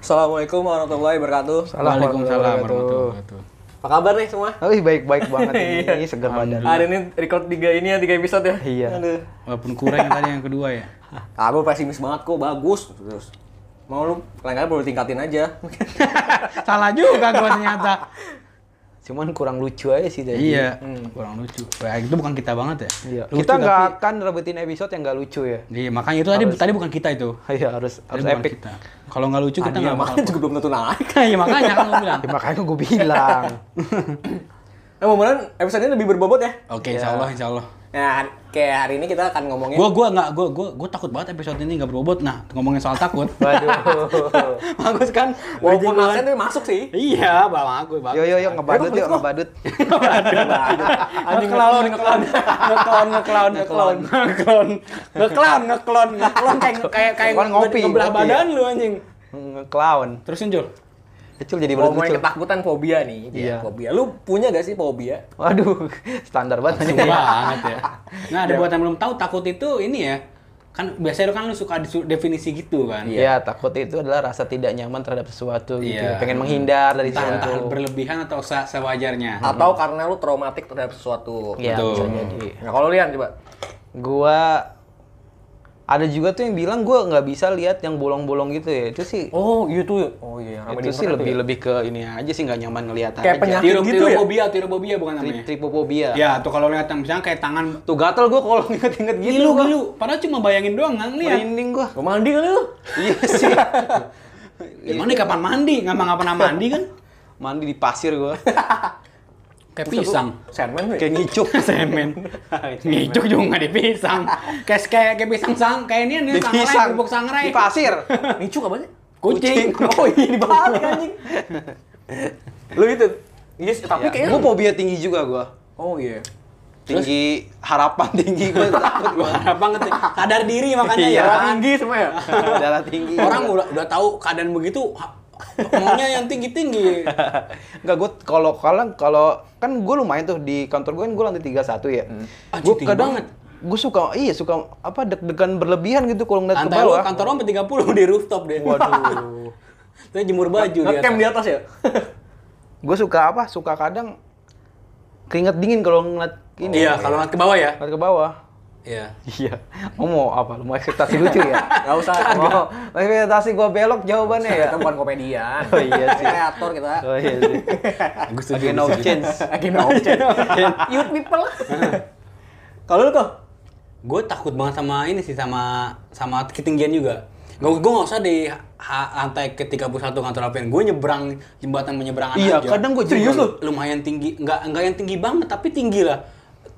Assalamualaikum warahmatullahi wabarakatuh. Waalaikumsalam warahmatullahi Iya. wabarakatuh. Apa kabar nih semua? Wih baik-baik banget ini, segar badan. Hari ini record tiga ini ya, tiga episode ya. Iya. Aduh. Walaupun kurang yang tadi yang kedua ya. Kamu pesimis banget kok, bagus. Terus mau lu lain kali perlu tingkatin aja. Salah juga gua ternyata. Cuman kurang lucu aja sih dari. iya, kurang lucu. Wah, itu bukan kita banget ya. Iya. Lucu, kita nggak tapi- akan rebutin episode yang nggak lucu ya. Iya, makanya itu tadi tadi bukan kita itu. Iya harus Tadi harus bukan epic. kita. Kalau nggak lucu kita Iya, nggak bakal. makanya juga belum tentu naik. Iya, makanya kan gua bilang. Ya, makanya gue bilang. Nah, mudah-mudahan episode ini lebih berbobot ya. Oke, insya Allah, insya Allah. Nah, kayak hari ini kita akan ngomongin Gua gua nggak gua gua gua takut banget episode ini nggak berbobot. Nah, ngomongin soal takut. Waduh. bagus kan? walaupun absen tapi masuk sih. Iya, bang bagus, bagus. Yo yo yo ngebadut yuk ngebadut. Iya, Anjing ngeklon, ngeklon, ngeklon, ngeklon, ngeklon. Ngeklon, ngeklon, ngeklon, ngeklon kayak kayak kayak Ngeklon ngopi, ngebelah ngopi ya? badan lu anjing. Nge-clown. Terusin Jul. Kecil jadi Kalau badut mau lucu. ketakutan fobia nih, ya. Iya. fobia. Lu punya gak sih fobia? Waduh, standar banget. Langsung banget ya. Nah, Iya. ada buat yang belum tahu takut itu ini ya. Kan biasanya kan lu suka disu- definisi gitu kan. Iya, takut itu adalah rasa tidak nyaman terhadap sesuatu gitu. Iya. Pengen menghindar dari Entah, entah sesuatu. berlebihan atau se- sewajarnya. Atau karena lu traumatik terhadap sesuatu? Iya, Betul. bisa jadi. Nah, kalau lihat coba. Gua ada juga tuh yang bilang gua nggak bisa lihat yang bolong-bolong gitu ya. Itu sih Oh, itu. Oh iya, ramai itu sih lebih lebih ke ini aja sih nggak nyaman ngelihat Kayak aja. penyakit Tiro, gitu ya? fobia, tirofobia bukan namanya. Tri- tripofobia. Ya, tuh kalau lihat yang misalnya kayak tangan Tuh gatel gua kalau inget-inget gitu. gilu gua. gilu, padahal cuma bayangin doang nggak ngeliat. Merinding gua. Mau mandi kali lu? Iya sih. Gimana nih kapan mandi? Nggak nggak pernah mandi kan? Mandi di pasir gua. Kayak pisang. Sandman lu ya? Kayak gitu. ngicuk. Semen. Ngicuk juga nggak di pisang. Kayak kayak kayak pisang sang, kayak ini nih Di sangrai, pisang. bubuk sangrai. Di pasir. Nicuk apa sih? Kucing. Oh iya, dibalik anjing. lu itu? Iya, yes, tapi kayaknya... Gua fobia tinggi juga gua. Oh iya. Tinggi harapan tinggi gua takut gua. Parah banget sih. Sadar diri makanya Iya. ya. Darah kan? tinggi semua ya? Darah tinggi. Orang udah udah tahu keadaan begitu ha- maunya yang tinggi-tinggi. Enggak, gue kalau kalau kalau kan gue lumayan tuh di kantor gue kan gue lantai 31 ya. Gue Anjing, tinggi kadang Ah, gitu banget. gue suka iya suka apa deg-degan berlebihan gitu kalau ngeliat ke Antara lu bawah. kantor lu sampai 30 di rooftop deh. Waduh. Terus jemur baju dia. Ngecamp di atas ya? Gue suka apa? Suka kadang keringat dingin kalau ngeliat ini. Iya, kalau ngeliat ke bawah ya. Ngeliat ke bawah. Iya. Iya. Lu mau apa? Lu mau ekspektasi lucu ya? Gak usah. Oh, Mau mau ekspektasi gue belok jawabannya ya. Kita bukan komedian. Oh iya sih. Kreator kita. Oh iya sih. Gue Again of chance. Again, no. Youth people. Kalau lu kok? Gue takut banget sama ini sih sama sama ketinggian juga. Gue gue nggak usah di ha- lantai ke 31 kantor apa Gue nyebrang jembatan menyeberangan Iya, aja. kadang gue serius lu. Lumayan tinggi, nggak nggak yang tinggi banget tapi tinggi lah.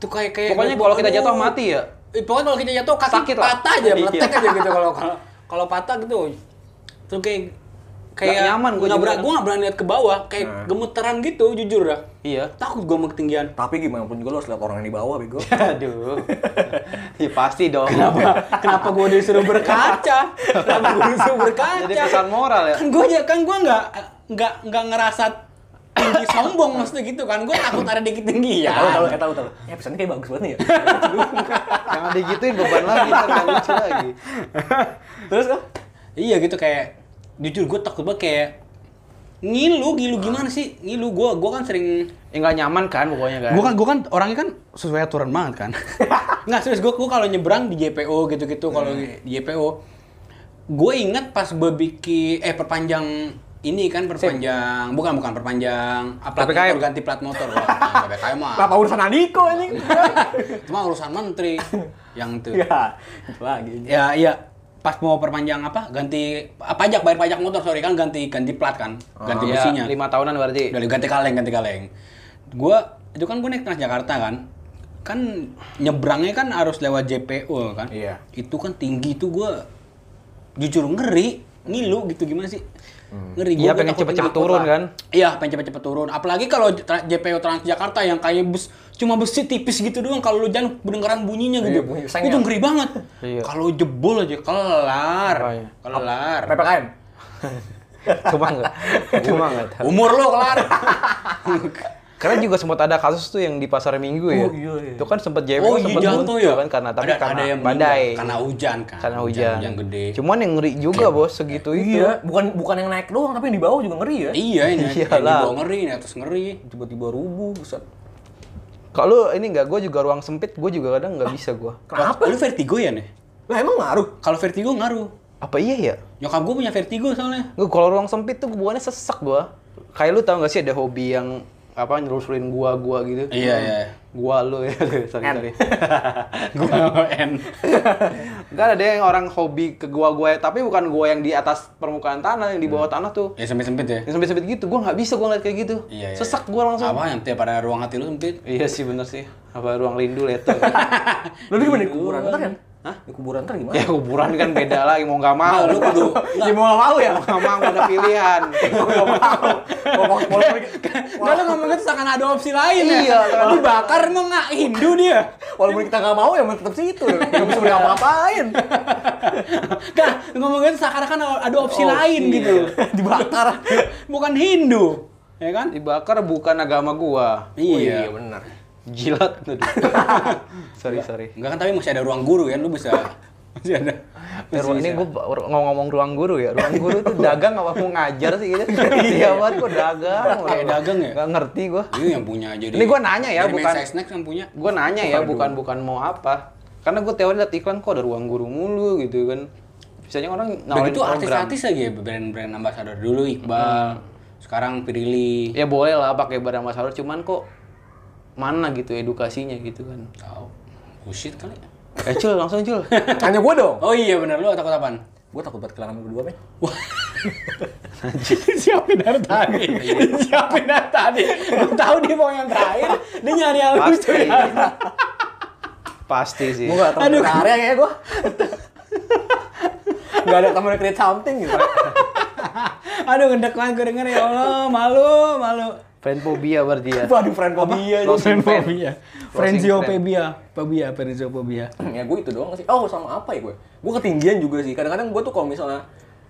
Tuh kayak kayak Pokoknya kalau kita jatuh mati ya. Eh, pokoknya kalau kita jatuh kaki Sakit lah. patah aja, Iya. meletek aja gitu kalau kalau kalau patah gitu. Tuh kayak Nggak kayak nyaman gua nggak juga. berani gue nggak berani lihat ke bawah kayak gemeteran gitu jujur dah Iya. takut gue sama ketinggian Tapi gimana pun juga lu harus lihat orang yang di bawah, Bego. Aduh. Ya pasti dong. kenapa kenapa gue disuruh berkaca kenapa gue disuruh berkaca Jadi pesan moral ya? kan gue kan gue nggak nggak nggak ngerasa tinggi sombong maksudnya gitu kan gue takut ada dikit tinggi Iya. ya Tahu, tahu, eh, tahu, tahu. Ya, pesannya kayak bagus banget nih ya. Jangan digituin beban lagi, ntar nggak lucu lagi. Terus kok? iya gitu kayak jujur gue takut banget kayak ngilu ngilu gimana sih ngilu gue gue kan sering Ya nggak nyaman kan pokoknya kan. Gue kan, gua kan orangnya kan sesuai aturan banget kan. Nggak serius gue, gue kalau nyebrang di JPO gitu-gitu, kalau Hmm. di JPO, gue inget pas gue bikin eh perpanjang ini kan perpanjang bukan bukan perpanjang ah, plat PPKM. motor ganti plat motor Wah, nah, PPKM mah Apa urusan Andiko anjing? cuma urusan menteri yang itu Iya. Ya, itu lagi. ya iya pas mau perpanjang apa ganti ah, pajak bayar pajak motor sorry kan ganti ganti plat kan ganti Iya, besinya lima tahunan berarti. Udah ganti kaleng, ganti kaleng. Gua itu kan gue naik Transjakarta kan. Kan nyebrangnya kan harus lewat JPO kan. Iya. Itu kan tinggi itu gua jujur ngeri, ngilu gitu gimana sih? Ngeri Iya, Gua- gua pengen takut cepet-cepet ngikut turun lah. kan? Iya, pengen cepet-cepet turun. Apalagi kalau tra- JPO Transjakarta yang kayak bus cuma besi tipis gitu doang kalau lu jangan kedengeran bunyinya gitu. Iya, bunyi sengnya. itu ngeri banget. Iya. Kalau jebol aja kelar. Makanya. Kelar. PPKM. Cuma nggak. Cuma nggak. Umur lo kelar. Karena juga sempat ada kasus tuh yang di pasar minggu ya. Oh, iya, iya. Itu kan sempat jebol, Oh iya sempat jatuh ya? kan karena tapi Ada- karena ada yang meninggal. badai. Karena hujan kan. Karena hujan. Hujan gede. Cuman yang ngeri juga bos segitu itu. Iya, bukan bukan yang naik doang tapi yang di bawah juga ngeri ya. Iya ini yang di Iyalah. bawah ngeri, ini atas ngeri. Tiba-tiba rubuh, buset. Kalau ini nggak, gue juga ruang sempit, gue juga kadang nggak bisa gue. Kenapa? Lu vertigo ya nih? Lah emang ngaruh? Kalau vertigo ngaruh. Apa iya ya? Nyokap gue punya vertigo soalnya. Gue kalau ruang sempit tuh bukannya sesek gue. Kayak lu tau gak sih ada hobi yang apa nyelusurin gua-gua gitu? Iya, iya. Gua lu ya, sorry, sorry. Gua N. Enggak ada yang orang hobi ke gua-gua, tapi bukan gua yang di atas permukaan tanah, yang di bawah tanah tuh. Ya sempit-sempit ya. Yang sempit-sempit gitu, gua nggak bisa gua ngeliat kayak gitu. Iya, iya. Sesak gua langsung. Apa yang tiap ada ruang hati lu sempit? Iya sih bener sih. Apa ruang lindu leto. Lu di gimana di kuburan ntar kan? Hah? Di kuburan ntar gimana? ya kuburan kan beda lagi mau nggak mau. Nah, lu kudu Ya mau nggak mau ya? mau nggak mau ada pilihan. Ngomong walaupun kita, Enggak lu ngomong gitu seakan ada opsi lain ya. Iya, seakan- dibakar emang nggak Hindu dia. walaupun kita nggak mau ya emang tetap situ. Gak bisa ngapa-ngapain. Enggak, ngomong gitu seakan-akan ada opsi lain Opsi, gitu. Dibakar. Bukan Hindu, ya kan? Dibakar bukan agama gua. Oh, Iya. benar. Jilat. Aduh. sorry sorry. Enggak kan tapi masih ada ruang guru kan lu bisa masih ada. Ya, ruang- ini gue ngomong-ngomong ruang guru ya. Ruang guru tuh dagang apa mau ngajar sih gitu. Iya banget kok dagang. Kayak dagang ya? Nggak ngerti gua. Ini yang punya jadi. Ini gua nanya ya, dari bukan- Mensa Snack yang punya. gue nanya ya bukan bukan mau apa karena gue teori liat iklan kok ada ruang guru mulu gitu kan biasanya orang nawarin Begitu artis-artis lagi ya, brand-brand ambassador dulu Hmm. Iqbal, sekarang Pirili. ya boleh lah pakai barang masalah cuman kok mana gitu edukasinya gitu kan Tahu. Bullshit kali. ya. eh cul langsung cul Tanya gue dong. Oh iya benar lu takut apaan? Gue takut buat kehilangan berdua, men. Siapin dari tadi. Siapin dari tadi. Lu tahu dia mau yang terakhir, dia nyari yang pasti pasti sih Gue gak temen Aduh. berkarya kayaknya gue. Gak ada temen create something gitu. Aduh ngedek banget gue denger ya Allah, malu, malu. fanfobia berarti ya Waduh, friend phobia. Closing friend. Fobia. Closing friend. Frenziopebia, Fobia, Frenziopebia. ya gue itu doang sih. Oh, sama apa ya gue? Gue ketinggian juga sih. Kadang-kadang gue tuh kalau misalnya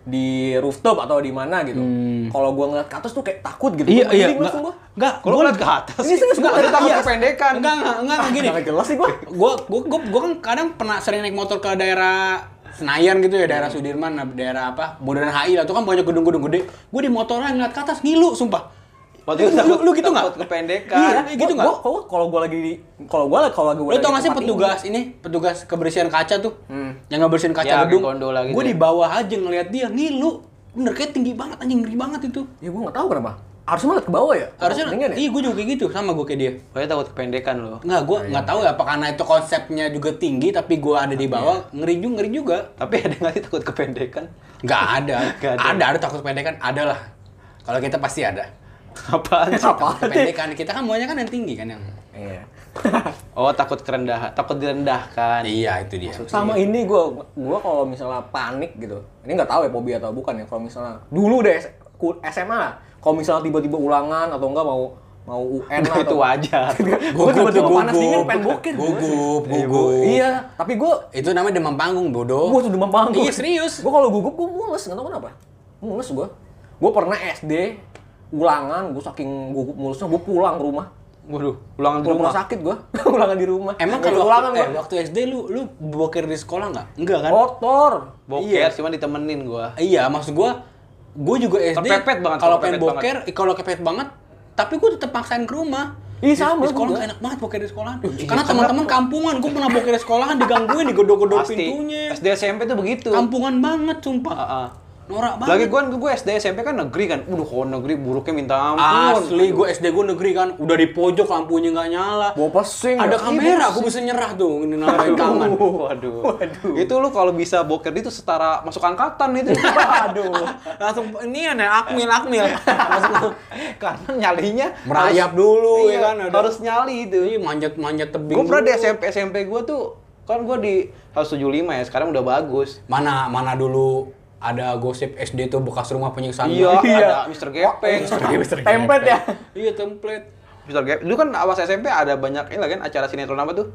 di rooftop atau di mana gitu. Kalau gue ngeliat ke atas tuh kayak takut gitu. Hmm. Iya, Gua iya. merinding Enggak, langsung gue. enggak. kalau ngeliat ke atas Ini serius, enggak gua ada takut iya. kependekan Enggak, enggak, enggak gini. Gak jelas sih gue. Gue gue gue gue kan kadang pernah sering naik motor ke daerah Senayan gitu ya, daerah Sudirman, daerah apa, Bundaran HI lah, itu kan banyak gedung-gedung gede. Gue di motornya ngeliat ke atas ngilu, sumpah. Waktu itu Lu- takut- lu gitu nggak? takut kependekan. Iya, eh, gitu nggak? Gua- gua- Kalau gue lagi di... Kalau gue kalau lagi Lu tau gak sih petugas ini, petugas kebersihan kaca tuh, yang ngebersihin kaca Ya, kayak gedung. gondola gitu Gue ya. di bawah aja ngeliat dia ngilu. Bener kayak tinggi banget anjing ngeri banget itu. Ya gue gak tau kenapa. Harusnya ngeliat ke bawah ya? Harusnya Ketinggian ya? iya gue juga kayak gitu sama gue kayak dia. pokoknya takut kependekan loh Nggak, Oh, gue iya. nggak tahu ya apa karena itu konsepnya juga tinggi tapi gue ada Iya. di bawah ngeri juga ngeri juga. tapi ada nggak sih takut kependekan Nggak ada. Nggak ada. ada. ada takut kependekan ada lah. Kalau kita pasti ada. apaan sih? Takut kependekan kita kan maunya kan yang tinggi kan yang. Iya. oh takut kerendahan takut direndahkan Iya itu dia. Sama ini gue, gue kalau misalnya panik gitu, ini nggak tahu ya hobi atau bukan ya. Kalau misalnya dulu deh ku- SMA lah, kalau misalnya tiba-tiba ulangan atau enggak mau mau UN Nah, lah itu atau wajar gue tiba-tiba panas dingin pengen bokir gua sih. Gugup, gugup. Iya, tapi gue Itu namanya demam panggung bodoh. gue tuh demam panggung. Oh. Iya, serius. Gue kalau gugup gue mules, nggak tahu kenapa. Mules gue. Gue pernah SD ulangan, gue saking gugup mulesnya gue pulang ke rumah. Waduh, ulangan di Pulang rumah. rumah sakit gue, ulangan di rumah. Emang Nggak kalau ulangan waktu, eh, gue waktu SD lu lu boker di sekolah nggak? Enggak kan? kotor. Iya. Boker, Iya, cuman ditemenin gua. Iya, maksud gua gua juga SD Kepepet banget, kalau kepepet pengen boker, eh, kalau kepepet banget, tapi gua tetap paksain ke rumah. Ih, Di- sama Di sekolah gua. nggak enak banget boker di sekolahan. Karena teman-teman kampungan, gua pernah boker di sekolahan digangguin, digodok-godok Pasti. pintunya. SD SMP tuh begitu. Kampungan banget sumpah. Heeh. Norak Lagi banget. gua gua SD SMP kan negeri kan. Udah kalau negeri buruknya minta ampun. Asli, gua SD gua negeri kan, udah di pojok lampunya nggak nyala. Bawa pesing. ya. Ada kamera, gua bisa nyerah tuh nyalain Aduh, kaman. Waduh. Itu lu kalau bisa boker itu setara masuk angkatan itu. Aduh. Langsung ini ya, akmil akmil. Karena nyalinya Merayap harus- dulu, ya iya, kan, ada. Harus nyali itu. Ih, manjat-manjat Iya, tebing. Gua pernah dulu. di SMP SMP gua tuh kan gua di 175 ya, sekarang udah bagus. mana mana dulu ada gosip SD tuh bekas rumah penyiksaan Iya, Iya. ada Mr. Gepeng. Template ya? iya template Mr. Gepeng. Dulu kan awas SMP ada banyak ini lagi kan acara sinetron apa tuh?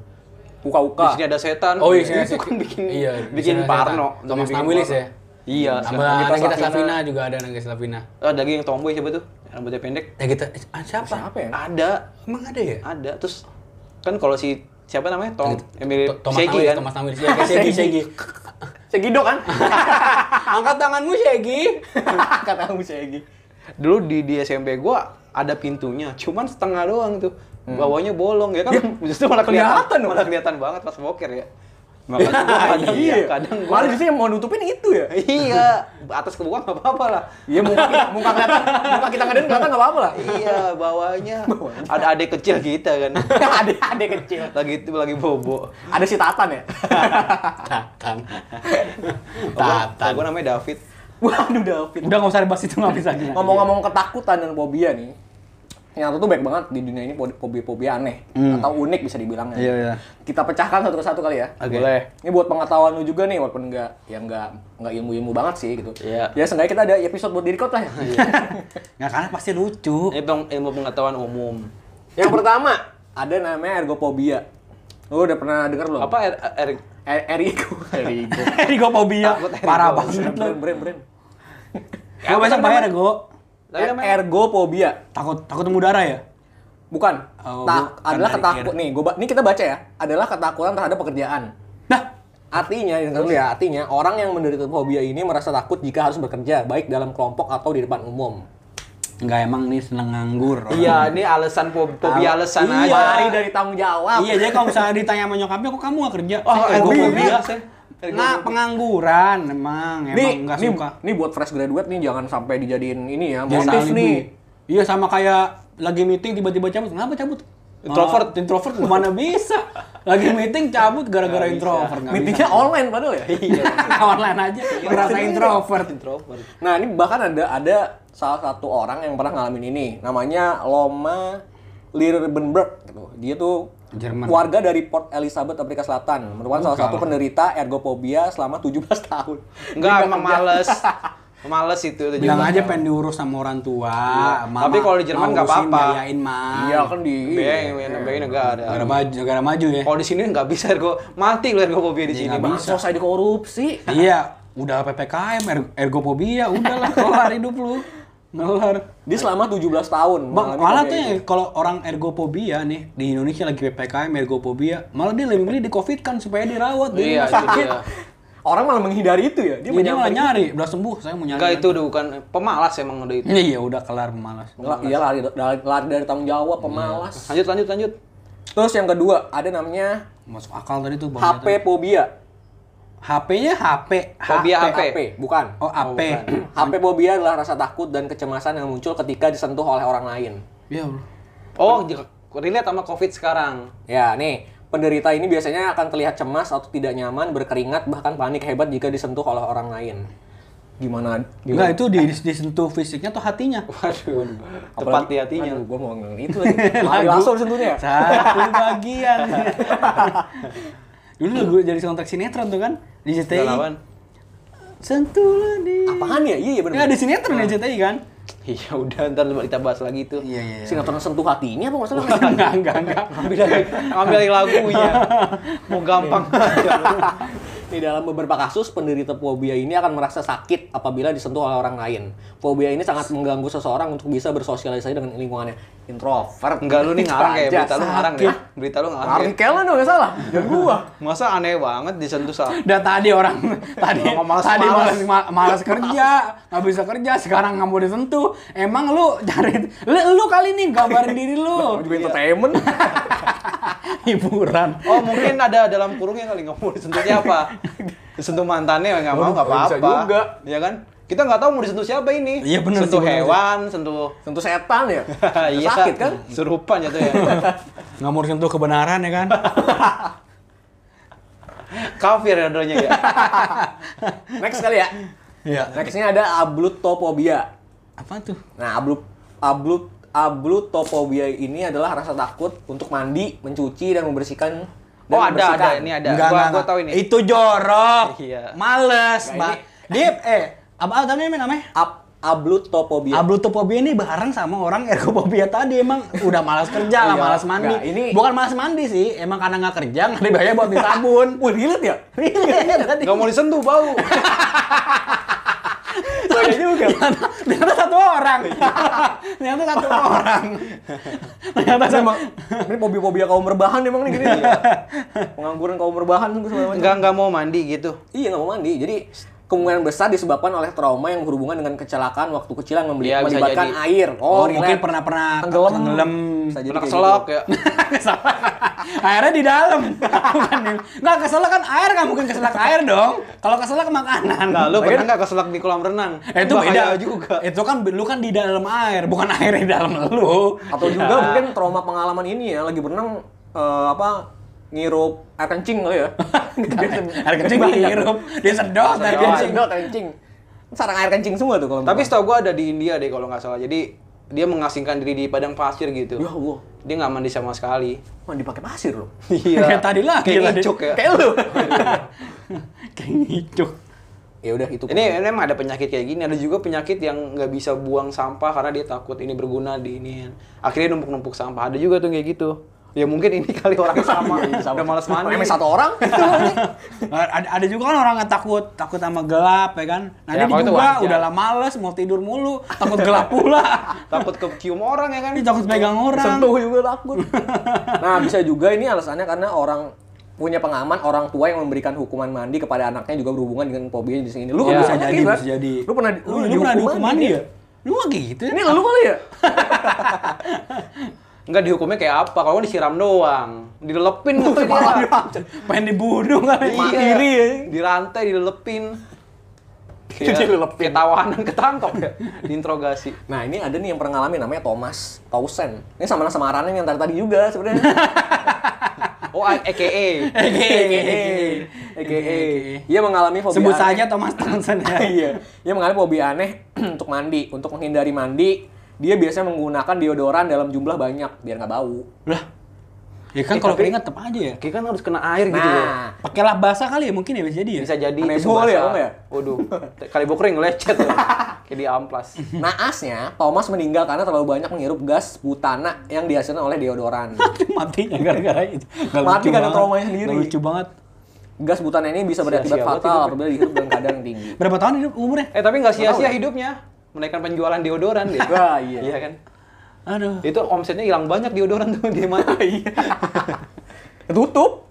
Buka-buka. Di sini ada setan. Oh, iya, itu sini- kan bikin iya, bikin di sini ada Parno. setan. Thomas Bikin Nawilis Parno. ya? Iya, sama Nagita Nagita Slavina. Slavina juga ada Nagita Slavina Oh, ada lagi yang tomboy siapa tuh? rambutnya pendek Ya kita, eh, ah, siapa? Siapa ya? ada Emang ada ya? Gitu. ada terus kan kalau si siapa namanya Tom Emily To- Thomas Segi Tamir, kan Thomas Tamir. Ya, kayak Segi, Segi. Segido kan? Angkat tanganmu, Segi. Kata kamu Segi. dulu di di SMP gua ada pintunya cuman setengah doang tuh Hmm. bawahnya bolong ya kan Iya. justru malah kelihatan kelihatan dong. malah kelihatan banget pas boker ya makanya gua kadang iya. kadang gua Malah justru yang mau nutupin itu ya. iya atas ke bawah nggak apa-apa lah Iya muka kita, muka kelihatan, muka kita ngadain kelihatan nggak apa-apa lah. iya bawahnya ada adik kecil kita kan ada ada kecil. lagi lagi bobo Ada si Tatan ya. Tatan. Tata. Tatan. Gue namanya David. Waduh David. Udah nggak usah dibahas itu, nggak bisa. Ngomong-ngomong ketakutan dan fobia nih. Yang tuh baik banget di dunia ini fobia-fobia aneh atau unik bisa dibilangnya. Hmm. Iya, iya. Kita pecahkan satu persatu kali ya. Oke. Boleh. Ini buat pengetahuan lu juga nih walaupun nggak ya nggak nggak ilmu-ilmu banget sih gitu. Iya. Ya seenggaknya kita ada episode buat diri lah ya. Nggak karena pasti lucu. Ini ilmu, ilmu pengetahuan umum. Yang pertama ada namanya ergophobia. Lu udah pernah dengar belum? Apa er, er, E- Erigo. Erigo. Erigofobia. Takut Parah Erigo. banget lu. brand brand brand. Gue besok bayar ya, Go. tapi Er, namanya Ergophobia. Takut, takut temu darah ya? Bukan. Oh, Tak- bukan adalah dari ketakut Ergo. nih, gua ba- nih kita baca ya. Adalah ketakutan terhadap pekerjaan. Nah, Artinya, yang tertulis ya, artinya orang yang menderita fobia ini merasa takut jika harus bekerja, baik dalam kelompok atau di depan umum. nggak emang nih seneng nganggur. orang. Iya, ini alasan fob- fobia alasan Iya. aja. Lari dari tanggung jawab. Iya, jadi kalau misalnya ditanya sama nyokapnya, kok kamu gak kerja? Oh, Saya ergofobia, saya ergofobia. Nah, pengangguran emang, emang Nih, nggak nih, suka. nih buat fresh graduate nih jangan sampai dijadiin ini ya, Jangan motif alibi. nih. Iya, sama kayak lagi meeting tiba-tiba cabut. Kenapa cabut? Introvert. Ah, introvert mana bisa? Lagi meeting cabut gara-gara Nggak bisa. introvert. nggak bisa. Meetingnya online padahal ya. Iya. Online aja, ngerasa introvert. Introvert. Nah, ini bahkan ada ada salah satu orang yang pernah ngalamin ini. Namanya Loma Lirbenberg gitu. Dia tuh Jerman. warga dari Port Elizabeth, Afrika Selatan. Merupakan salah satu penderita ergophobia selama 17 tahun. Enggak, Dia emang kerja. males. Males itu. itu Bilang juga. aja pengen diurus sama orang tua. Mama Iya. Tapi kalau di Jerman mau nggak urusin, apa-apa. Biayain mah. Iya kan di Bayangin, bayangin enggak ada. Negara maju, negara maju ya. Kalau di sini nggak bisa, ergo mati lu ergofobia di sini. nggak Bang. Bisa. selesai dikorupsi. Iya, udah PPKM, er- ergofobia, udahlah kelar hidup lu. Ngelar. Dia selama 17 tahun. Bang, mengalami malah fobia tuh ini. yang kalau orang ergofobia nih di Indonesia lagi PPKM ergofobia, malah dia lebih milih di covid kan supaya dirawat di Iya, rumah itu sakit. dia. orang malah menghindari itu ya. Dia Iya, Dia, dia malah menyampaikan. nyari, udah sembuh, saya mau nyari. Enggak lagi. itu udah bukan pemalas emang udah itu. Iya, iya, udah kelar malas. Nggak, Iya lari, lari, lari dari tanggung Iya. jawab, pemalas. Lanjut lanjut lanjut. Terus yang kedua ada namanya Masuk akal tadi tuh Bang. HP phobia. HP-nya HP, Fobia HP. HP. bukan. Oh, HP. HP phobia adalah rasa takut dan kecemasan yang muncul ketika disentuh oleh orang lain. Ya Allah. Oh, j- relate sama Covid sekarang. Ya, nih, penderita ini biasanya akan terlihat cemas atau tidak nyaman, berkeringat, bahkan panik hebat jika disentuh oleh orang lain. Gimana? gimana? Enggak itu di, disentuh fisiknya tuh hatinya. Waduh. Tepat di hatinya. Aduh, gua mau ngomong itu lagi. Lari langsung disentuhnya. ya? Satu bagian. Dulu gue jadi soundtrack sinetron tuh kan di JTI. Galawan. Sentuhlah di. Apaan ya? Iya, iya bener. Ya di sinetron di JTI kan? Iya udah ntar kita bahas lagi itu. Iya iya. Sinetron sentuh hatinya apa maksudnya? Enggak enggak enggak. Ambil lagi, ambil lagi lagunya. Mau gampang. Di dalam beberapa kasus, penderita fobia ini akan merasa sakit apabila disentuh oleh orang lain. Fobia ini sangat mengganggu seseorang untuk bisa bersosialisasi dengan lingkungannya. Introvert. Enggak lu nih ngarang kayak Aja, berita lu ngarang deh. sakit. Berita lu ngarang. Ngarang ya. kelan dong, nggak salah. Dan gua. Masa aneh banget disentuh sah. Udah tadi orang tadi Ngomong malas- tadi malas. malas ma- malas kerja, nggak bisa kerja, sekarang nggak mau disentuh. Emang lu cari lu, lu kali nih gambarin diri Gua lu. juga entertainment. Hiburan. Oh mungkin ada dalam kurungnya kali nggak mau disentuhnya apa? Disentuh mantannya nggak mau nggak Waduh, bisa apa-apa. juga. Iya kan? Kita nggak tahu mau disentuh siapa ini. Iya, bener Sentuh sih, bener sih. hewan, sentuh Sentuh setan ya. Iya. Sakit kan? Serupan jatuhnya. Nggak mau disentuh kebenaran ya kan? Kafir ya adanya ya. Next kali ya. Iya. Nextnya ada ablutophobia. Apa tuh? Nah, ablut ablut ablutophobia ini adalah rasa takut untuk mandi, mencuci dan membersihkan dan Oh ada ada membersihkan. ini ada. gua gua tahu ini. Itu jorok. Iya. Males, Nah, Mbak. ini- Dip, eh, apa namanya namanya? Ab- ablutophobia. Ablutofobia ini bareng sama orang ergofobia tadi emang udah malas kerja lah, Iya, malas mandi. nggak, ini- Bukan malas mandi sih, emang karena nggak kerja nggak dibayar buat beli sabun. Wih, relate ya? Iya tadi. Nggak mau disentuh bau. Soalnya juga. Iya. Ternyata satu orang. ternyata satu orang. ternyata Ini sama. emang, ini fobia-fobia kaum berbahan emang nih gini. ya. Pengangguran kaum berbahan tuh segala macam. Enggak enggak mau mandi gitu. Iya nggak mau mandi. Jadi kemungkinan besar disebabkan oleh trauma yang berhubungan dengan kecelakaan waktu kecil yang membeli- Iya, bisa melibatkan jadi. air. Oh, relate. mungkin pernah pernah Tenggelam. Bisa jadi kayak Pernah keselak gitu. ya. Keselak. Airnya di dalam. Bukan di- Nggak keselak kan air nggak mungkin keselak air dong. Kalau keselak makanan. Nah, lu Lalu pernah enggak keselak di kolam renang? Eh, itu Bahaya beda juga. Itu kan lu kan di dalam air, bukan air di dalam lu. Iya. Atau juga mungkin trauma pengalaman ini ya lagi berenang eh, apa ngirup air kencing kali ya. air kencing dihirup, disedot air Air kencing. kencing. air kencing. Sarang air kencing semua tuh kalau Tapi setahu gua ada di India deh kalau nggak salah. Jadi dia mengasingkan diri di padang pasir gitu. ya Allah, Dia nggak mandi sama sekali. Iya. mandi pakai pasir loh. Kayak tadi lagi, Kayak tadi. ngicuk ya. Kayak lu. Kayak gitu. ngicuk. ya udah itu. Ini, ini emang ada penyakit kayak gini, ada juga penyakit yang nggak bisa buang sampah karena dia takut ini berguna di ini. Akhirnya numpuk-numpuk sampah. Ada juga tuh kayak gitu. Ya mungkin ini kali orangnya Iya, sama, udah malas mandi. Emang satu orang? ada, ada juga kan orang yang takut takut sama gelap ya kan. Nah, Ya, dia kalau itu juga wajar. udah lah males mau tidur mulu, takut gelap pula. Takut kecium orang ya kan? Iya, Ini takut megang orang. Sentuh juga takut. nah, bisa juga ini alasannya karena orang punya pengaman orang tua yang memberikan hukuman mandi kepada anaknya juga berhubungan dengan fobia di sini. Lu kan Lu Ya, bisa Iya, jadi, kan? bisa jadi. Lu iya, pernah lu, lu pernah dihukuman mandi dia. Lu mah gitu. Ini lu kali ya? Nggak dihukumnya kayak apa? Kalau nggak disiram doang, dilelepin Oh, gitu iya. dia. pengen dibunuh kali. Iya. Mati diri ya. Dirantai, dilelepin. Dilelepin. kayak tawanan ketangkep ya, diinterogasi. Nah, ini ada nih yang pernah ngalamin namanya Thomas Tausen. Ini sama sama Ranen yang tadi tadi juga sebenarnya. Oh, EKE. E E. Eke. Dia Iya, mengalami fobia. Sebut aneh. saja Thomas Townsend ya? ya. Iya. Dia mengalami hobi aneh untuk mandi, untuk menghindari mandi. Dia biasanya menggunakan deodoran dalam jumlah banyak biar nggak bau. Lah. Ya kan Eh, kalau tapi- keringat tetap aja ya. Kayak kan harus kena air gitu loh. Nah, Pakailah basah kali ya mungkin ya bisa jadi ya. Bisa jadi Anebo tisu basah. kali ya, kamu ya? Waduh, kali bokring lecet loh. Kayak di amplas. naasnya Thomas meninggal karena terlalu banyak menghirup gas butana yang dihasilkan oleh deodoran. matinya gara-gara itu. Nggak Mati lucu karena banget. traumanya sendiri. Nggak lucu banget. Gas butana ini bisa berakibat Sia-sia banget fatal hidupnya. apabila dihirup dalam keadaan yang tinggi. Berapa tahun hidup umurnya? Eh tapi Nggak nggak sia-sia tahu ya. hidupnya. Menaikkan penjualan deodoran dia. Wah, iya. Iya kan? Aduh. Itu omsetnya hilang banyak deodoran tuh dia mati. Iya. Tutup.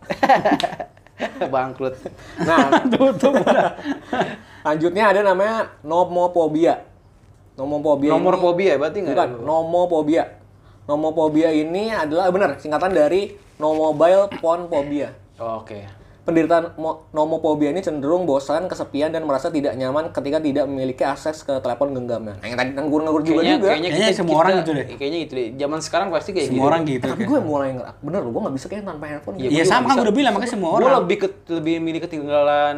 Bangkrut. Nah, Tutup udah. lanjutnya ada namanya nomophobia. Nomophobia. Nomor ini- fobia ya, berarti nggak? Bukan, nomophobia. Nomophobia ini adalah benar singkatan dari no mobile phone phobia. Oh, Oke. Penderitaan mo- nomophobia ini cenderung bosan, kesepian, dan merasa tidak nyaman ketika tidak memiliki akses ke telepon genggamnya. Nah, yang tadi nganggur-nganggur juga Kayaknya, juga. kayaknya, Kayaknya kita- semua kita- orang gitu deh. Kayaknya gitu deh. Zaman sekarang pasti kayak Semua gitu. orang gitu. Tapi kan. gue mulai ngerak, bener loh, gue gak bisa kayak tanpa handphone. Iya, Gitu. Iya gua juga sama kan bisa. gue udah bilang makanya semua Gue orang. lebih ke, lebih milih ketinggalan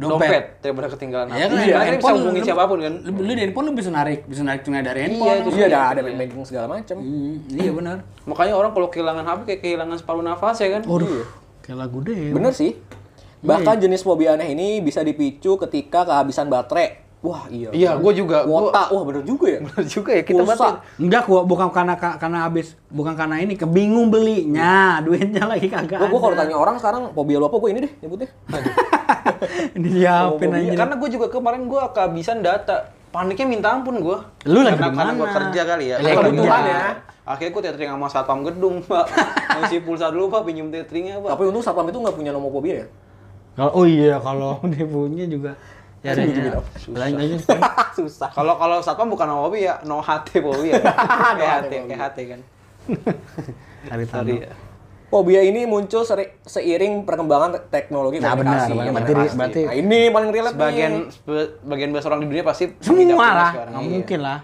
Dompet. dompet, daripada ketinggalan HP. Iya kan, Karena kita bisa handphone hubungin lu- siapapun kan. Lu, lu dari handphone lu bisa narik, bisa narik tunai dari Iya, handphone. itu iya, iya, ada, ada iya. banking segala macam. Hmm, iya benar. Makanya orang kalau kehilangan HP kayak kehilangan separuh nafas ya kan. Waduh, kayak lagu Iya. deh. Bener sih. Bahkan jenis fobia aneh ini bisa dipicu ketika kehabisan baterai. Wah, iya. Iya, gue juga. Gua, Kuota, wah bener juga ya. bener juga ya kita Pulsa. berarti Enggak, gua bukan karena ka- karena habis, bukan karena ini, kebingung belinya, duitnya lagi kagak. Oh, Gue ada. kalau tanya orang sekarang fobia lu apa, gue ini deh nyebutnya. disiapin Iya, aja. karena gue juga kemarin gue kehabisan data. Paniknya minta ampun gue. Lu lagi di karena mana? gue kerja kali ya. Lu lagi Kebetulan kerja. ya. Akhirnya gue tethering sama satpam gedung, Pak. Ngisi pulsa dulu, Pak, pinjem tetheringnya, Pak. Tapi untung satpam itu nggak punya nomophobia ya. Kalau oh iya kalau dia punya juga gitu ya ada Gitu-gitu. Lanjut Susah. Kalau kalau satpam bukan no hobi ya, no hati hobi ya. No kayak hati hati, hobi. kayak hati kan. Hari Tadi. ya. Fobia ini muncul seri- seiring perkembangan te- teknologi Nah, benar, komunikasi. benar. Ya, Berarti- pasti. berarti- Nah, ini paling relate Sebagian nih. sebe- bagian besar orang di dunia pasti Semua mengidap lah, sekarang. nggak Iya. mungkin lah.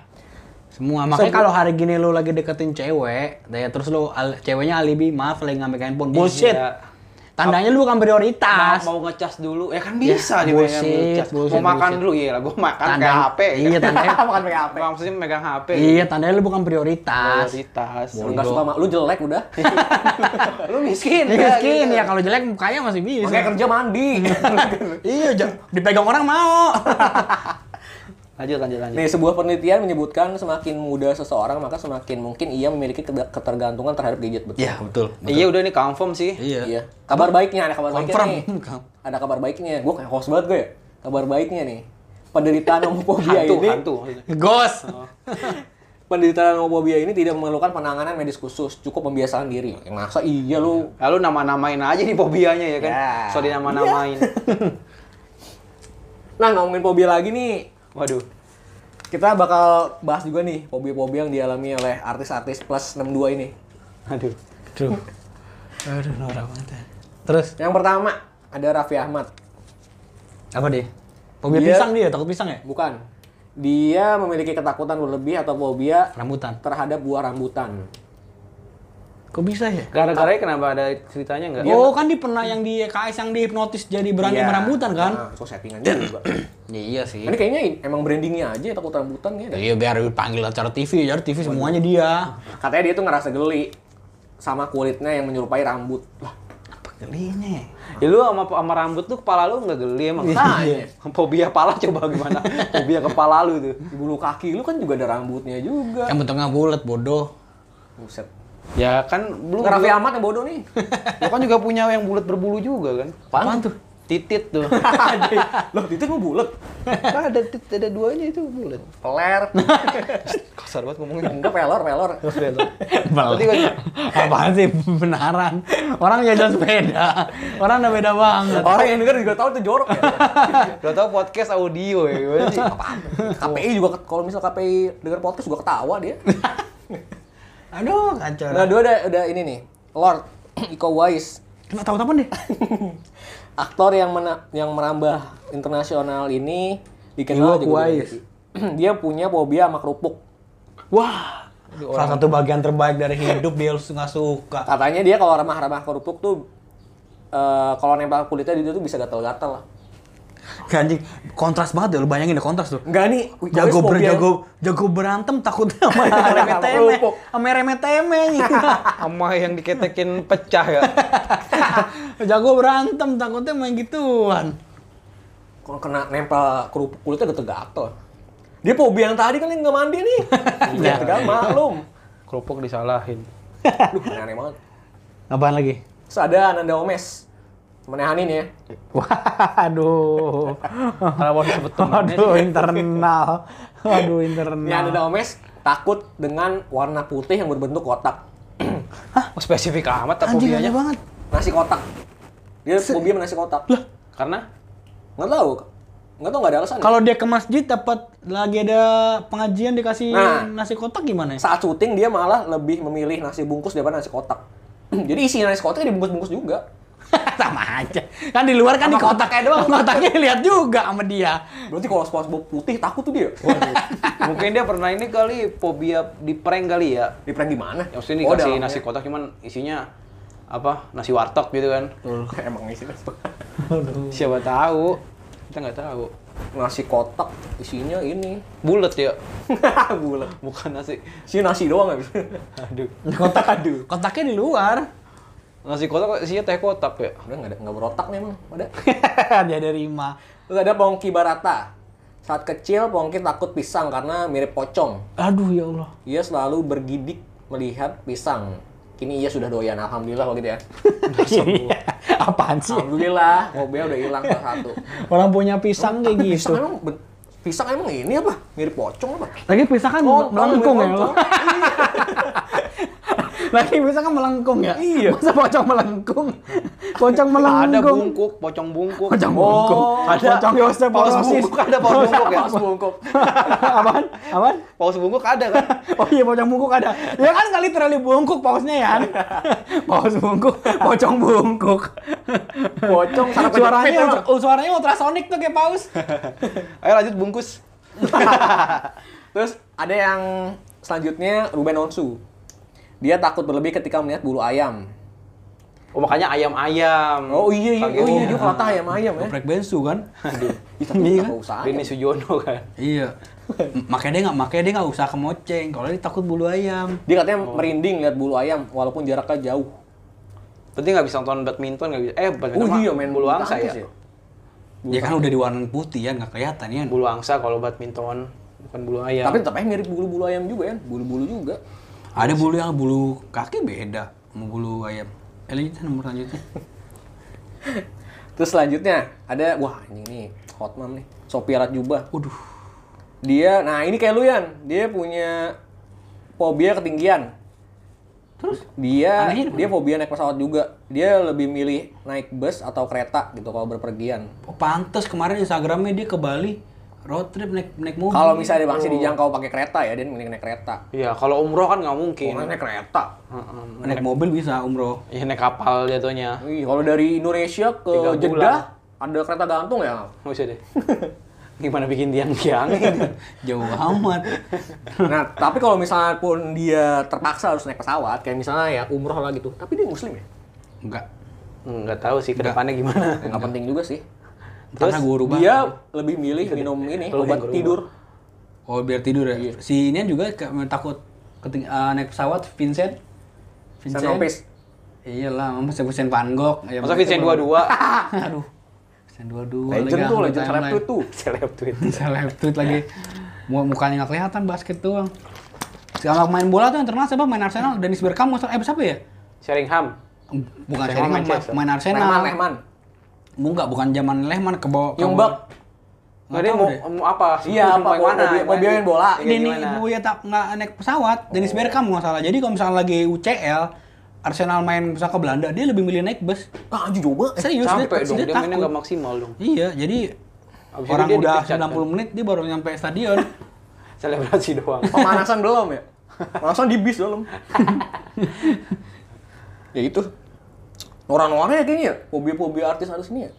Semua. Makanya Sebelum- kalau hari gini lu lagi deketin cewek, ya terus lu al- ceweknya alibi, maaf lagi ngambil handphone. Bullshit. Iya. Tandanya lu bukan prioritas. Mau, mau ngecas dulu, ya kan bisa dia Ya, pengen bullshit, ngecas. bullshit, Mau makan bullshit. dulu, iya lah. Gue makan Tanda- kayak HP. Iya, tandanya. Makan pakai HP. Nggak, Maksudnya megang HP. iya, tandanya lu bukan ya? prioritas. Prioritas. Lu nggak suka sama lu jelek udah. Lu miskin. Ya, ya, miskin gitu. ya kalau jelek mukanya masih bisa. Makanya kerja mandi. iya, j- dipegang orang mau. Lanjut, lanjut, lanjut. Nih, sebuah penelitian menyebutkan semakin muda seseorang maka semakin mungkin ia memiliki kede- ketergantungan terhadap gadget. Betul. betul. Iya udah nih confirm sih. Iya. Kabar baiknya ada kabar Confirm. baiknya nih. Ada kabar baiknya. Gue kayak host banget gue ya. Kabar baiknya nih. Penderitaan homofobia Hantu, ini hantu. Ghost. Penderita homofobia ini tidak memerlukan penanganan medis khusus, cukup pembiasaan diri. Ya, masa iya lu? Lalu nama-namain aja nih fobianya ya kan. Ya. So dinama-namain. Nah, ngomongin fobia lagi nih, Waduh. kita bakal bahas juga nih fobia-fobia yang dialami oleh artis-artis plus 62 ini. Aduh. Aduh. Aduh, norak banget. ya. Terus Yang pertama ada Raffi Ahmad. apa dia? Fobia Dia- pisang dia, takut pisang ya? Bukan. Dia memiliki ketakutan berlebih atau fobia Rambutan. terhadap buah rambutan. Kok bisa ya? Gara-garanya kenapa ada ceritanya enggak? oh, kan dia pernah yang di KS yang dihipnotis jadi berani Iya. merambutan kan? Nah, so settingan juga. Iya sih. Ini kayaknya in- emang brandingnya aja takut rambutan kayaknya. deh. Iya biar dipanggil acara TV, acara TV semuanya dia. Katanya dia tuh ngerasa geli sama kulitnya yang menyerupai rambut. Lah, Apa geli ini? Ya lu sama, sama rambut tuh kepala lu nggak geli emang. Iya. Fobia kepala coba gimana? Fobia kepala lu tuh. di bulu kaki lu kan juga ada rambutnya juga. Yang bentuknya bulat bodoh. Buset. Ya kan belum. Raffi Ahmad yang bodoh nih. Lu kan juga punya yang bulat berbulu juga kan? Apaan tuh? Titit tuh. Loh, itu mau bulat. Kan ada tit- ada duanya itu bulat. Peler. Kasar banget ngomongnya. Enggak pelor, pelor. Bal. Apaan sih benaran? Orang ya jalan sepeda. Orang udah beda banget. Orang yang denger juga tahu itu jorok ya. Lo tau podcast audio ya gimana sih? Apaan? KPI juga ket- kalau misal KPI denger podcast juga ketawa dia. Aduh, kacau. Nah, dua ada, ada ini nih. Lord Iko Uwais, Cuma tahu tapan deh. aktor yang mena- yang merambah internasional ini dikenal Iko juga Uwais. dia punya fobia sama kerupuk. Wah. Salah satu bagian terbaik dari hidup dia harus nggak suka. Katanya dia kalau remah-remah kerupuk tuh eh, kalau nempel kulitnya dia tuh bisa gatal-gatal lah. Anjing, kontras banget deh. Lu bayangin deh kontras tuh. Enggak nih, Iko Uwais Jago ber, fobia- jago, jago berantem takut sama remeh teme, Kerupuk. sama remeh teme. Sama yang diketekin pecah ya. jago berantem takutnya main gituan. kalau kena nempel kerupuk kulitnya gatel-gatel. Dia fobia yang tadi kan yang nggak mandi nih. Iya, tegal maklum. Kerupuk disalahin. Duh, aneh banget. Apaan lagi? Terus ada Ananda Omes. Temennya Hanin ya. Waduh. Kalau mau disebut temannya. Waduh internal. Waduh Ini Ananda internal. Omes takut dengan warna putih yang berbentuk kotak. Oh, spesifik amat tak Anjing aja fobianya. banget. Nasi kotak. Dia fobia sama nasi kotak. Lah, Karena nggak tahu. Nggak tahu nggak ada alasan. Kalau dia ke masjid dapat lagi ada pengajian dikasih Nah. nasi kotak gimana ya? saat syuting dia malah lebih memilih nasi bungkus daripada nasi kotak. Jadi isi nasi kotak dibungkus-bungkus juga. sama aja. Kan di luar kan di Sama kotaknya doang. Kotaknya lihat juga sama dia. Berarti kalau SpongeBob putih takut tuh dia. mungkin dia pernah ini kali fobia di prank kali ya. Di prank gimana? Yang sini Oh, dikasih dalamnya. nasi kotak cuman isinya apa? Nasi warteg gitu kan. Emang isi nasi kotak. Siapa tahu. Kita nggak tahu. Nasi kotak isinya ini. Bulat ya. Bulat. Bukan nasi. Isinya nasi doang habis. Aduh. Kotak aduh. Kotaknya di luar. Nasi kotak isinya teh kotak ya. Udah nggak ada nggak berotak nih emang. Ada. dia derima. Terus ada Pongki Barata. Saat kecil Pongki takut pisang karena mirip pocong. Aduh ya Allah. Ia selalu bergidik melihat pisang. Kini ia sudah doyan. Alhamdulillah kalau gitu ya. Iya. Apaan sih? Alhamdulillah, mobilnya udah hilang salah satu. Orang punya pisang kayak Pisang gitu. emang ben- pisang emang ini apa? Mirip pocong apa? Lagi pisang kan Oh, melengkung oh, ya. pocong. Lagi pisang kan melengkung ya. Iya. Masa pocong melengkung? Pocong melengkung. Ada bungkuk, pocong bungkuk. Pocong Oh, bungkuk. ada. Pocong Yosef Paus Porosis. bungkuk ada paus bungkuk ya. Paus bungkuk. Apaan? Apaan? Paus bungkuk ada kan? Oh iya pocong bungkuk ada. Ya kan kali terlalu bungkuk pausnya ya. Paus bungkuk, pocong bungkuk. Pocong sampai suaranya jepit, ultra- emang. oh, suaranya ultrasonik tuh kayak paus. Ayo lanjut bungkus. Terus ada yang selanjutnya Ruben Onsu. Dia takut berlebih ketika melihat bulu ayam. Oh makanya ayam-ayam. Oh iya iya, Kaget. oh iya dia patah ayam ayam ya. Geprek bensu kan? Ih, tapi Iya. nggak usah. Rini Sujono kan. Iya. makanya dia nggak makanya dia nggak usah kemoceng. Kalau dia takut bulu ayam. Dia katanya Oh. merinding lihat bulu ayam walaupun jaraknya jauh. Berarti nggak bisa nonton badminton nggak bisa. Eh badminton Oh mah iya main bulu angsa tangkis ya. Dia kan udah diwarnain putih ya nggak kelihatan ya. Bulu angsa kalau badminton bukan bulu ayam. Tapi tetap aja mirip bulu-bulu ayam juga ya, bulu-bulu juga. Ada bulu yang bulu kaki beda sama bulu ayam. Eh lanjutnya nomor lanjutnya. Terus selanjutnya ada wah anjing nih hot mom nih, Sophia Latjuba. Waduh. Dia nah ini kayak lu Yan, dia punya fobia ketinggian. Terus dia Anehnya di mana? dia fobia naik pesawat juga. Dia lebih milih naik bus atau kereta gitu kalau berpergian. Oh, pantes kemarin Instagramnya dia ke Bali road trip naik naik mobil. Kalau misalnya masih dijangkau pakai kereta ya, dia milih naik kereta. Iya, kalau umroh kan nggak mungkin. Kalau naik kereta. Heeh. naik mobil bisa umroh. Iya naik kapal jatuhnya. Ih, kalau dari Indonesia Tiga ke bulan. Jeddah ada kereta gantung ya. Nggak bisa deh. Gimana bikin tiang-tiang? Jauh amat. Nah, tapi kalau misalnya pun dia terpaksa harus naik pesawat, kayak misalnya ya umroh lah gitu. Tapi dia muslim ya. Enggak. Nggak tahu sih kedepannya gimana. Nggak penting juga sih. Terus Karena gua rubah. Dia lebih milih minum ini, Nah, Kalau yang obat gua rubah. tidur. Oh biar tidur Iya. ya. Si ini juga ke- takut keting- eh, naik pesawat Vincent. Vincent Lopez. Iyalah, masa Vincent Van Gogh. Ya, Masa Vincent baru- 22? Aduh. Vincent Legend 22. lagi tuh, upload legend timeline. seleb tuh. Seleb tweet. Seleb tweet lagi. Mu- Mukanya nggak kelihatan basket doang. Kalau main bola tuh yang terkenal siapa? Main Arsenal, Dennis Bergkamp, Musa- eh siapa ya? Sheringham. Bukan Sheringham Sheringham, main, Manchester. main Arsenal. Lehman, Lehman. Bu, Enggak, bukan zaman Lehman ke bawah. ke Yongbak. bawah. Nggak dia mau, mau apa? Iya, apa? Mau Mau- mana? mau- mau biarin bola. Iya, Denny gimana? Oh. Bu ya tak nggak naik pesawat, Dennis Bergkamp nggak salah. Jadi kalau misalnya lagi UCL, Arsenal main misalnya ke Belanda, dia lebih milih naik bus. Ah, anjing coba. Serius, Capek Eh, dong, dia dia mainnya takut. nggak maksimal dong. Iya, jadi Abis itu orang dia udah dipecat, kan? 90 menit dia baru nyampe stadion. Selebrasi doang. Pemanasan belum ya? Pemanasan di bis belum. ya itu. Orang-orangnya kayaknya ya, fobia-fobia artis harus ini ya.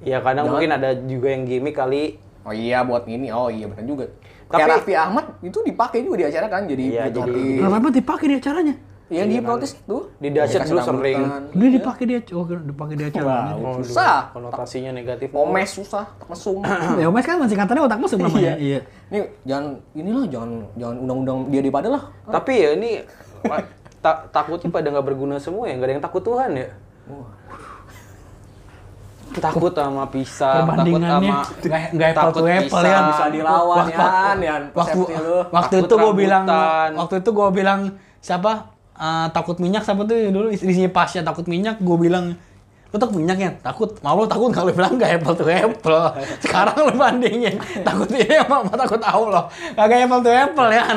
Iya, kadang Jangan. mungkin ada juga yang gimmick kali. Oh iya buat ini, oh iya benar juga. Tapi- Tapi Kayak Raffi Ahmad itu dipakai juga di acara kan jadi Iya, Iya, penyakit jadi- hati. Berapa emang dipakai di acaranya? Yang di protes tuh. Di Dikasih dahsyat dulu rambutan. sering. Dia dipakai di ac- oh, kira dipakai di acara. Wah, Waduh, susah. Konotasinya negatif. Omes susah, mesum. Ya, Mas kan masih katanya otak mesum namanya. Iya. Nih, jangan inilah jangan jangan undang-undang dia daripada lah. Tapi ya ini wa- ta- takutnya pada nggak berguna semua ya, nggak ada yang takut Tuhan ya. Takut sama pisah, takut Perbandingannya sama nggak nggak apple to takut apple pisah. ya. Bisa dilawan, Yan, Yan. waktu Persepsi lu. waktu Takut itu gue bilang rambutan. waktu itu gue bilang siapa Eh, takut minyak siapa tuh yang dulu isinya pasnya takut minyak gue bilang lu takut minyaknya takut mau lu takut kalau bilang nggak apple to apple sekarang lu bandingin takut ini sama sama takut Allah kagak apple to apple ya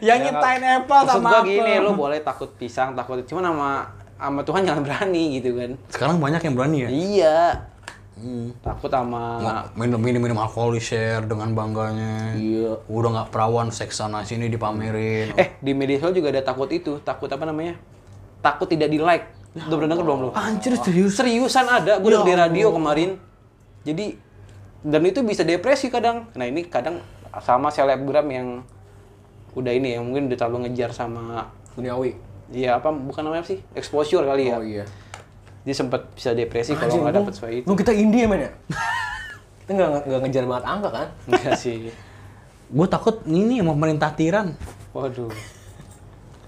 yang Ya, nyiptain nggak- apple maksud sama gua apple gini, lo boleh takut pisang, takut cuman sama sama Tuhan jangan berani gitu kan. sekarang banyak yang berani ya Iya. Hmm. Takut sama minum minum minum alkohol di share dengan bangganya Iya. udah nggak perawan seks sana sini dipamerin eh di media sosial juga ada takut itu, takut apa namanya? Takut tidak di like. Udah pernah denger belum lo? Anjir serius Seriusan ada, gue denger di radio kemarin. Jadi dan itu bisa depresi kadang. Nah ini kadang sama selebgram yang udah ini yang mungkin udah terlalu ngejar sama Duniawi. ya apa bukan namanya apa sih exposure kali Oh ya. iya. Ah, Dia sempat bisa depresi kalau nggak dapet sesuai itu. Lu kita indie ya, men ya? kita nggak nggak ngejar banget angka kan? Enggak sih. Gue takut ini mau pemerintah tiran. Waduh.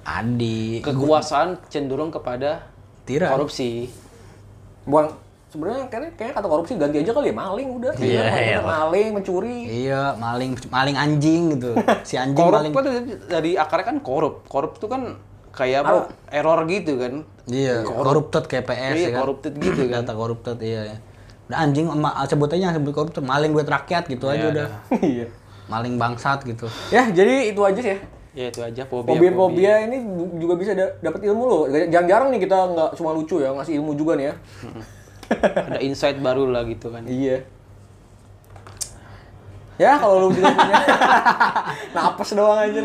Adi. Kekuasaan cenderung kepada Tiran. korupsi. Buang sebenarnya kayaknya, kayaknya kata korupsi ganti aja kali ya maling udah Iya, iya. maling mencuri Iya, maling maling anjing gitu. Si anjing Korup maling. kan dari akarnya kan korup. Korup tuh kan kayak apa? Error gitu kan. Iya, korupted kayak PS Iya, ya kan. corrupted gitu kan. Kata korupted iya ya. Udah anjing ma- sebut aja sebut korupted, maling duit rakyat gitu aja udah. iya Maling bangsat gitu. ya jadi itu aja sih ya. Ya itu aja fobia. fobia-fobia ini bu- juga bisa da- dapat ilmu loh jarang-jarang nih kita nggak cuma lucu ya ngasih ilmu juga nih ya Ada insight baru lah gitu kan. Iya. Ya kalau lu juga punya napas doang aja.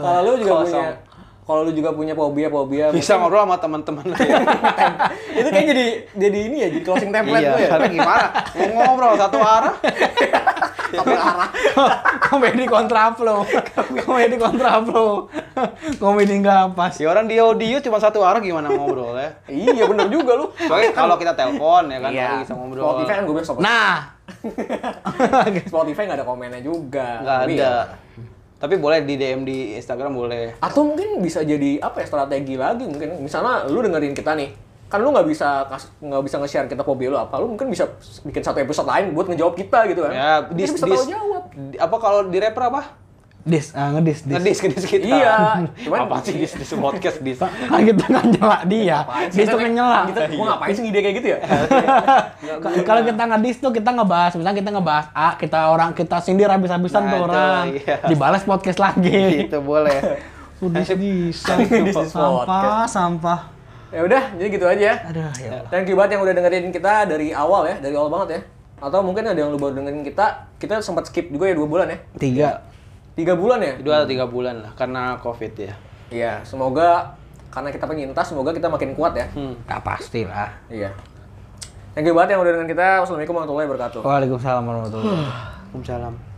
Kalau lu juga Kosong. punya kalau lu juga punya fobia-fobia Bisa ngobrol sama teman-teman lu ya. itu kayak jadi jadi ini ya jadi closing template iya, lu ya. karena gimana? Mau ngobrol satu arah. Sampai arah. Komedi kontraflow. Komedi kontraflow. Komedi nggak pas. Si Ya orang di audio cuma satu arah gimana ngobrol ya? iya bener juga lu. Soalnya kalau kita telepon ya kan baru bisa ngobrol. Kan Iya. Spotify kan gue bilang Spotify. Nah, Spotify nggak ada komennya juga. Nggak Tapi ada. ya. Tapi boleh di DM di Instagram boleh. Atau mungkin bisa jadi apa ya strategi lagi mungkin misalnya lu dengerin kita nih kan lu nggak bisa kas- nggak bisa nge-share kita fobia lu apa lu mungkin bisa bikin satu episode lain buat ngejawab kita gitu kan Ya, Jadi dis, bisa dis, tahu jawab di- apa kalau di rapper apa? Dis, ah, ngedis, dis. Ngedis, ngedis kita. Iya, Cuman cuman- apa sih dis dis podcast dis? Kan kita kan nyela dia. Dis tuh nyela. Kita, Iya. gua ngapain sih ide kayak gitu ya? Ka- Kalau kita ngedis tuh kita ngebahas, misalnya kita ngebahas A, kita orang kita sindir habis-habisan Nah, tuh itu, orang. iya. Dibalas podcast lagi. Gitu boleh. Udah bisa. Dis, dis, Sampah, podcast. sampah. Ya udah, jadi gitu aja ya. Aduh, ya. Allah. Thank you banget yang udah dengerin kita dari awal ya, dari awal banget ya. Atau mungkin ada yang lu baru dengerin kita, kita sempat skip juga ya dua bulan ya. Tiga. Tiga bulan ya? Dua atau tiga bulan lah karena covid ya. Iya, semoga karena kita penyintas, semoga kita makin kuat ya. Nah, pastilah. Iya. Thank you banget yang udah dengerin kita. Wassalamualaikum warahmatullahi wabarakatuh. Waalaikumsalam warahmatullahi wabarakatuh. Waalaikumsalam.